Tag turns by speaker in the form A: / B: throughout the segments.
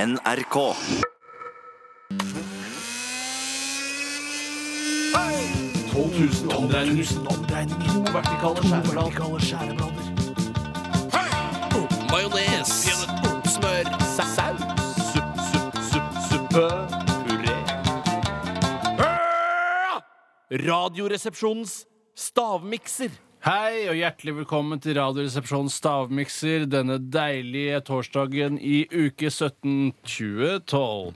A: NRK.
B: Radioresepsjonens stavmikser.
C: Hei og hjertelig velkommen til Radioresepsjonens stavmikser denne deilige torsdagen i uke 17 2012.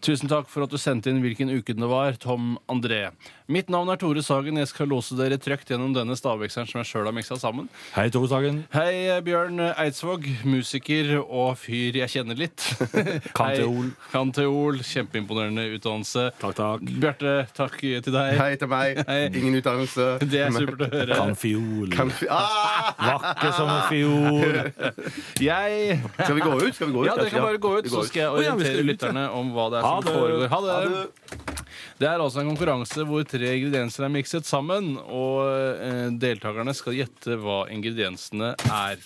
C: Tusen takk for at du sendte inn hvilken uke det var, Tom André. Mitt navn er Tore Sagen. Jeg skal lose dere trygt gjennom denne stavmikseren som jeg sjøl har miksa sammen.
D: Hei, Tore Sagen.
C: Hei, Bjørn Eidsvåg, musiker og fyr jeg kjenner litt. Hei.
D: Kanteol.
C: Kanteol. Kjempeimponerende utdannelse.
D: Takk, takk.
C: Bjarte, takk til deg.
E: Hei til meg.
C: Hei.
E: Ingen utdannelse.
C: Det er supert å høre.
D: Kan fiol.
E: Kanskje- Ah!
D: Vakker som en fiol.
C: Jeg
E: Skal vi gå ut? Skal vi gå ut?
C: Ja, dere kan bare gå ut,
E: Vi
C: så
E: går
C: skal jeg
D: Å, ja, vi
C: orientere
D: skal ut, ja.
C: lytterne om hva det er
D: Ha
C: som
D: det.
C: foregår. Ha det!
E: det.
C: Det er altså en konkurranse hvor tre ingredienser er mikset sammen, og eh, deltakerne skal gjette hva ingrediensene er.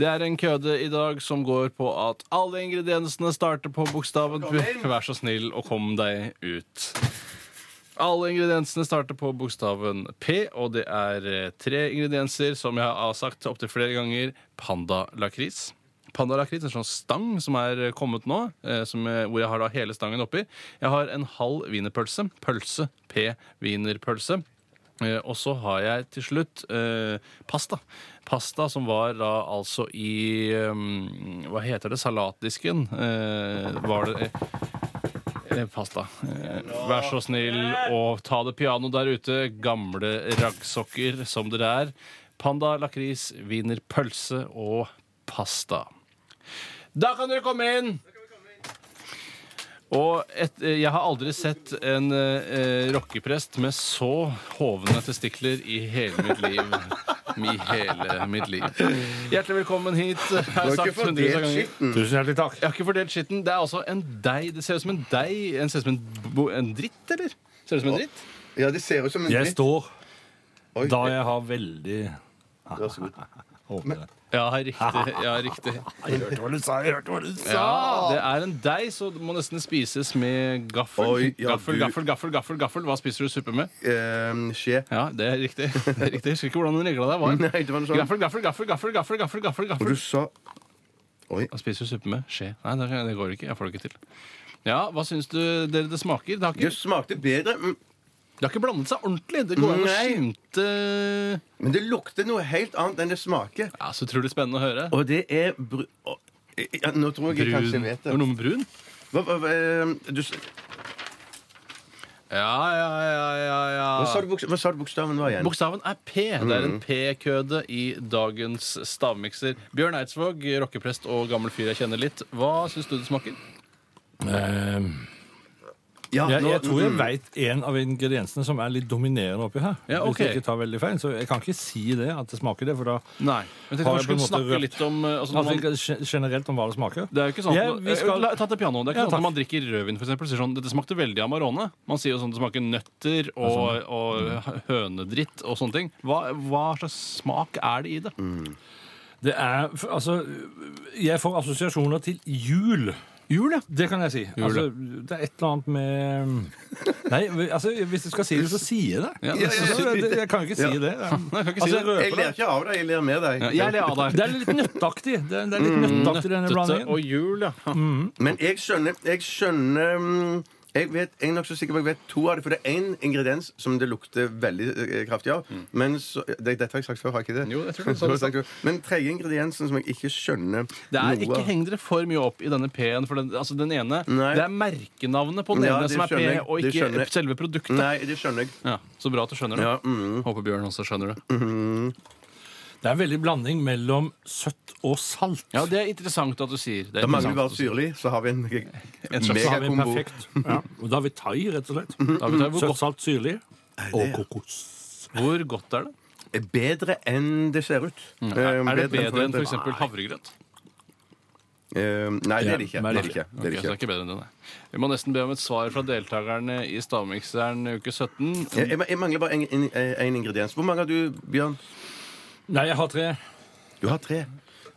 C: Det er en køde i dag som går på at alle ingrediensene starter på bokstaven B. Vær så snill og kom deg ut. Alle ingrediensene starter på bokstaven P, og det er eh, tre ingredienser som jeg har sagt opptil flere ganger. Pandalakris. Pandalakris er en sånn stang som er eh, kommet nå, eh, som, eh, hvor jeg har da hele stangen oppi. Jeg har en halv wienerpølse. Pølse. P-wienerpølse. Eh, Og så har jeg til slutt eh, pasta. Pasta som var da altså i eh, Hva heter det? Salatdisken. Eh, var det Eh, Pasta. Eh, Vær så snill å ta det piano der ute, gamle raggsokker som dere er. Panda, lakris, wiener, pølse og pasta. Da kan dere komme inn! Og et, eh, jeg har aldri sett en eh, eh, rockeprest med så hovne testikler i hele mitt liv. I hele mitt liv. Hjertelig velkommen hit. Jeg har
E: Du har
C: sagt hundrevis
E: ikke
C: av
E: fordelt
C: ganger.
E: skitten.
D: Tusen hjertelig takk.
C: Jeg har ikke fordelt skitten. Det er altså en deig. Det ser ut som en deig. En ser ut som en, bo- en dritt, eller? Ser det ut som en dritt?
E: Ja, det ser ut som en
D: Jeg
E: dritt.
D: står
E: Oi.
D: da jeg har veldig
E: Vær så god.
D: håpet.
C: Ja, riktig. Ja, riktig.
D: Jeg hørte hva du sa! jeg hørte hva du sa
C: Ja, det er en deig, så det må nesten spises med gaffel.
E: Oi, ja,
C: gaffel,
E: du-
C: gaffel, gaffel, gaffel, gaffel. Hva spiser du suppe med?
E: Eh, skje.
C: Ja, det er riktig. Det er riktig. Jeg husker ikke hvordan den regla der var.
E: Nei, det var noe sånt.
C: Gaffel, gaffel, gaffel, gaffel, gaffel, gaffel, gaffel,
E: Og du
C: gaffel.
E: sa
C: Hva spiser du suppe med? Skje. Nei, det, det går ikke. Jeg får det ikke til. Ja, Hva syns du dere det smaker? Det har
E: Det
C: ikke,
E: smakte bedre, mm,
C: det har ikke blandet seg ordentlig. Det går an å
E: Nei.
C: skimte
E: men det lukter noe helt annet enn det smaker.
C: Ja, Så utrolig spennende å høre.
E: Og det er bru... å, ja, nå tror jeg jeg kanskje
C: Brun.
E: jeg vet
C: Det
E: det.
C: var noe med brun?
E: Hva, hva, hva, eh, du, s-
C: Ja, ja, ja, ja,
E: hva, sa
C: ja.
E: du, Mm. bokst- hva sa du bokstaven var igjen?
C: Bokstaven er P. Det er en P-køde i dagens stavmikser. Bjørn Eidsvåg, rockeprest og gammel fyr jeg kjenner litt. Hva syns du det smaker?
E: Ja,
D: eh, Jeg,
E: nå-
D: jeg tror jeg
E: mm,
D: veit en av ingrediensene som er litt dominerende oppi her.
C: Ja, ok.
D: Hvis jeg ikke tar veldig feil, så jeg kan ikke si det, at det smaker det. For da
C: Nei. Jeg tenkte kanskje
D: Har
C: vi
D: jeg på en
C: skulle
D: måte
C: snakke
D: røpt?
C: litt om eh, altså, når
D: altså,
C: man,
D: ikke gen- Generelt om hva det smaker.
C: Det er jo ikke sånn
D: Ja,
C: at-
D: vi skal-
C: La- Ta til pianoet. Det er ikke
D: Ja,
C: sånn
D: takk.
C: at man drikker rødvin, for eksempel, sier sånn Dette smakte veldig Amarone. Man sier jo sånn det sånn. Mm. smaker nøtter og, og hønedritt og sånne ting. Hva, hva slags smak er det i det?
E: Mm.
D: Det er f- Altså, jeg får assosiasjoner til jul. Jul, ja. Det kan jeg si. Altså, det er et eller annet med Nei, altså, hvis du skal si det, så sier jeg det.
C: Ja,
D: Jeg, jeg, jeg kan jo ikke si
E: Ja.
D: det.
C: jeg kan ikke si det.
D: Altså, jeg
E: Jeg
D: røper det.
E: ler ikke av deg, jeg ler med deg.
C: Ja, Jeg ler av deg.
D: Det er litt nøttaktig. Det er, det er litt nøttaktig denne
C: Nøttete
D: blandingen.
C: og jul, ja.
E: Men jeg skjønner Jeg skjønner mm, jeg, vet, jeg er nok så sikker på at jeg vet to av det, for det er én ingrediens som det lukter veldig eh, kraftig av. Men så, eh, det, Dette har jeg sagt før, har jeg ikke det?
C: Mm. Jo, jeg tror det.
E: Så har jeg sagt før. Men tredje ingrediensen som jeg ikke skjønner
C: Det er
E: noe
C: Ikke
E: av.
C: heng dere for mye opp i denne P-en. For den, altså den ene,
E: Nei.
C: Det er merkenavnet på den
E: Ja,
C: ene
E: det
C: som er P,
E: skjønner jeg.
C: og
E: Det skjønner
C: ikke
E: jeg.
C: selve produktet.
E: Nei, det skjønner jeg.
C: Ja, så bra at du skjønner det.
E: Ja, mm.
C: Håper Bjørn også skjønner det.
D: Det er veldig blanding mellom søtt og salt.
C: Ja, Det er interessant at du sier det. er
E: Da mangler vi
C: interessant
E: bare
C: at du sier.
E: syrlig, så har vi en
C: En slags
D: Så har vi en
E: megakombo.
D: perfekt. Ja. Og da har vi thai, rett og slett.
C: Da vet jeg
E: Mm.
C: hvor,
D: Søtt,
C: godt,
D: salt, syrlig og kokos.
C: hvor godt er det?
E: Bedre enn det ser ut. Eh,
C: Er, er det bedre enn
E: forventet.
C: f.eks. havregrøt?
E: Eh, Nei, det er det ikke.
D: Ja,
E: Det
D: men
E: er
D: det
E: det ikke. Det
C: Ok, så
E: er det
C: det er
E: ikke.
C: ikke bedre enn det, nei. Vi må nesten be om et svar fra deltakerne i Stavmikseren uke 17.
E: Jeg, jeg- jeg mangler bare én ingrediens. Hvor mange har du, Bjørn?
D: Nei, jeg har tre.
E: Du har tre.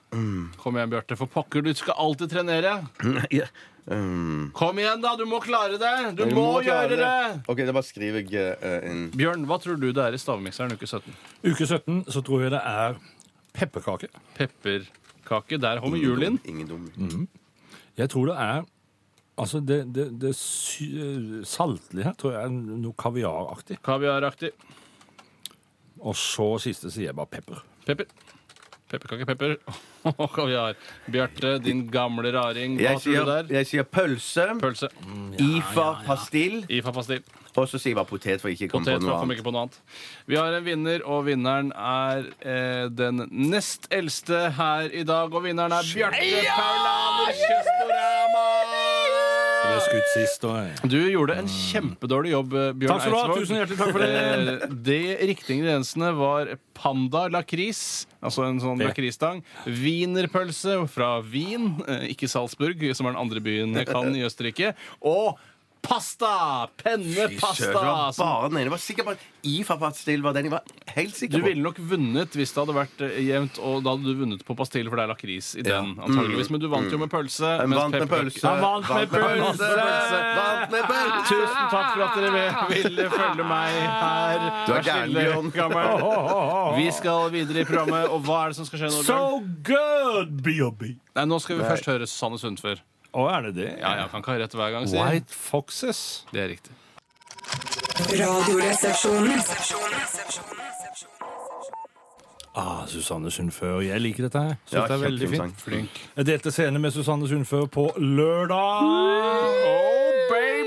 C: Kom igjen, Bjarte. For pokker, du skal alltid trenere.
E: Ja. Um,
C: Kom igjen, da! Du må klare det! Du
E: jeg
C: må,
E: klare
C: gjøre det!
E: OK, da bare skriver jeg eh, inn
C: Bjørn, hva tror du det er i stavmikseren uke 17?
D: Uke 17 så tror jeg det er pepperkake.
C: Pepperkake. Der kommer julen inn. Mm.
E: Ingen dum.
D: Jeg tror det er Altså, det, det, det sy eh, saltlige her tror jeg er noe kaviaraktig.
C: Kaviaraktig.
D: Og så siste sier jeg bare pepper.
C: Pepper. Pepperkake, pepper og kaviar. Bjarte, din gamle raring. Hva
E: Jeg
C: tror du
E: sier,
C: der?
E: jeg sier pølse,
C: Pølse.
E: IFA, pastill,
C: IFA-pastill.
E: og så sier jeg bare potet, for ikke å komme
C: Potet,
E: på noe
C: kom
E: annet.
C: ikke på noe annet. Vi har en vinner, og vinneren er eh, den nest eldste her i dag. Og vinneren er Bjarte Paulaner Kjøstorama!
D: Jeg ble skutt sist, og jeg.
C: Du gjorde en kjempedårlig jobb, eh, Bjørn
D: Takk skal du ha. Tusen hjertelig takk for det.
C: Eh, De riktige ingrediensene var panda lakris, altså en sånn
D: Det.
C: lakrisstang, wienerpølse fra Wien, eh, ikke Salzburg, som er den andre byen jeg kan i Østerrike, og pasta!
E: Søren, det var
C: Pennepasta! som-
E: bare den ene. Jeg var sikker på at IFA-pastill var den jeg var helt
C: Du
E: sikker på.
C: ville nok vunnet hvis det hadde vært eh, jevnt, og da hadde du vunnet på pastille, for det er lakris i den,
E: Mm,
C: antageligvis. Men du vant jo med pølse.
E: Han
C: mens
E: vant med
C: pepperkake-
E: pølse.
C: Han vant med
E: Vant med pølse!
C: pølse! Ah.
E: Vant med pølse.
C: Tusen takk for at dere ville følge meg her.
E: Du er
C: Vær
E: gæren,
C: stille,
E: Bjørn.
C: gammel. Vi skal videre i programmet, og hva er det som skal skje nå? Bjørn?
D: good, B.O.B.
C: Nei, nå skal vi først høre Susanne Sundfør.
D: Å, er det det?
C: Ja, ja, kan ikke ha rett hver gang, sier jeg.
D: White Foxes.
C: Det er riktig.
A: Radioresepsjonen.
D: Ah, Susanne Sundfør. Jeg liker dette her. Synes
E: Ja,
D: det er veldig fint.
E: kjempefin sang. Flink.
D: Jeg delte scene med Susanne Sundfør på lørdag.
C: Oh,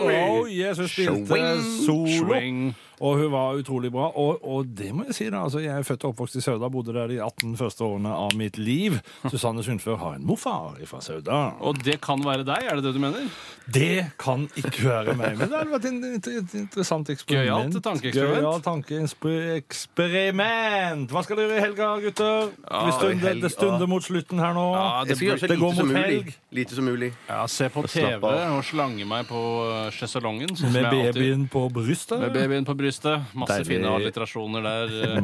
D: Oh, yes, hun spilte
E: Swing.
D: solo,
C: Swing.
D: og hun var utrolig bra. Og, og det må jeg si, da. Altså, jeg er født og oppvokst i Sauda, bodde der de 18 første årene av mitt liv. Susanne Sundfør har en morfar fra Sauda.
C: Og det kan være deg, er det det du mener?
D: Det kan ikke være meg, men det hadde vært en- et, et interessant eksperiment.
C: Gøyalt tankeeksperiment.
D: Gøyalt tankeeksperiment. Hva skal dere gjøre i helga, gutter? Vi stunder,
E: helg,
D: det stunder
E: ja.
D: mot slutten her nå.
C: Ah, Ja,
E: Jeg skal gjøre så
D: det går
E: lite som
D: mot
E: mulig.
D: helg.
E: Lite som mulig.
C: Ja, se på TV
E: slapp av.
C: og slange meg på eh, sjeselongen. sånn som
D: Med
C: jeg alltid-
D: babyen på brystet.
C: Med babyen på brystet. Masse
D: Deilig.
C: fine alliterasjoner der. eh.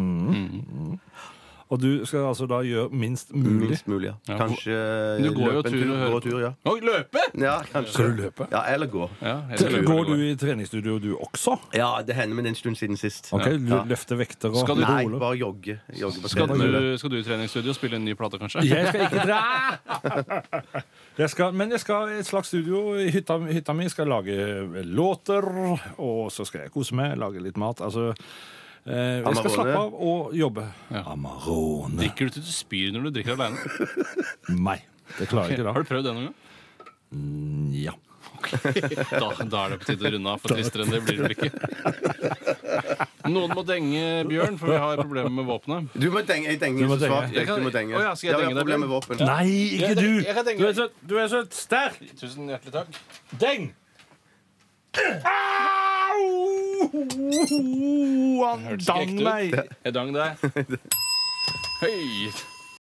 D: Og du skal altså da gjøre minst mulig.
E: Minst mulig, ja.
C: Ja,
E: Kanskje
C: Du går jo
E: løpe en
C: tur og hører
E: Gå tur, ja.
C: Oi, løpe!
E: ja kanskje.
D: du løpe?
E: Ja, eller gå.
C: Ja, jeg tror jeg
D: Går
C: gjør det.
D: du i treningsstudio du også?
E: Ja, det hender, men det er en stund siden sist.
D: Ok, du
E: Ja.
D: Løfte vekter og
C: Skal du-
E: Nei,
D: roller?
E: bare jogge. jogge på
D: Skal
C: Skal
E: tredemølle.
C: du, skal du i treningsstudio og spille en ny plate, kanskje?
D: Jeg skal ikke dra! Jeg skal, men jeg skal i et slags studio i hytta, hytta mi. Skal lage eh, låter, og så skal jeg kose meg, lage litt mat. Altså eh, Jeg
E: Amarone.
D: skal slappe av og jobbe. Amarone.
C: Drikker du til du spyr når du drikker alene?
D: Nei. Det klarer jeg
C: Har
D: ikke da.
C: du prøvd det noen gang?
D: Ja.
C: Da, da er det på tide å runde av, for tristere enn det blir det vel ikke. Noen må denge Bjørn, for vi har problemer med våpenet.
E: Du må denge. Jeg denger
D: Du må
E: så svakt.
C: denge.
E: Jeg- Du må denge.
C: Å ja, skal jeg
E: Ja, vi har
C: denge deg,
E: problemer med
C: Bjørn?
E: våpen.
D: Nei, ikke
C: Jeg-
D: du!
C: jeg kan tenke-
D: Du er så, du er så sterk!
C: Tusen hjertelig takk.
D: Deng! Au! Han
C: Hørtes ikke
D: dang
C: ekte
D: meg!
C: ut. Jeg dang deg. Høy.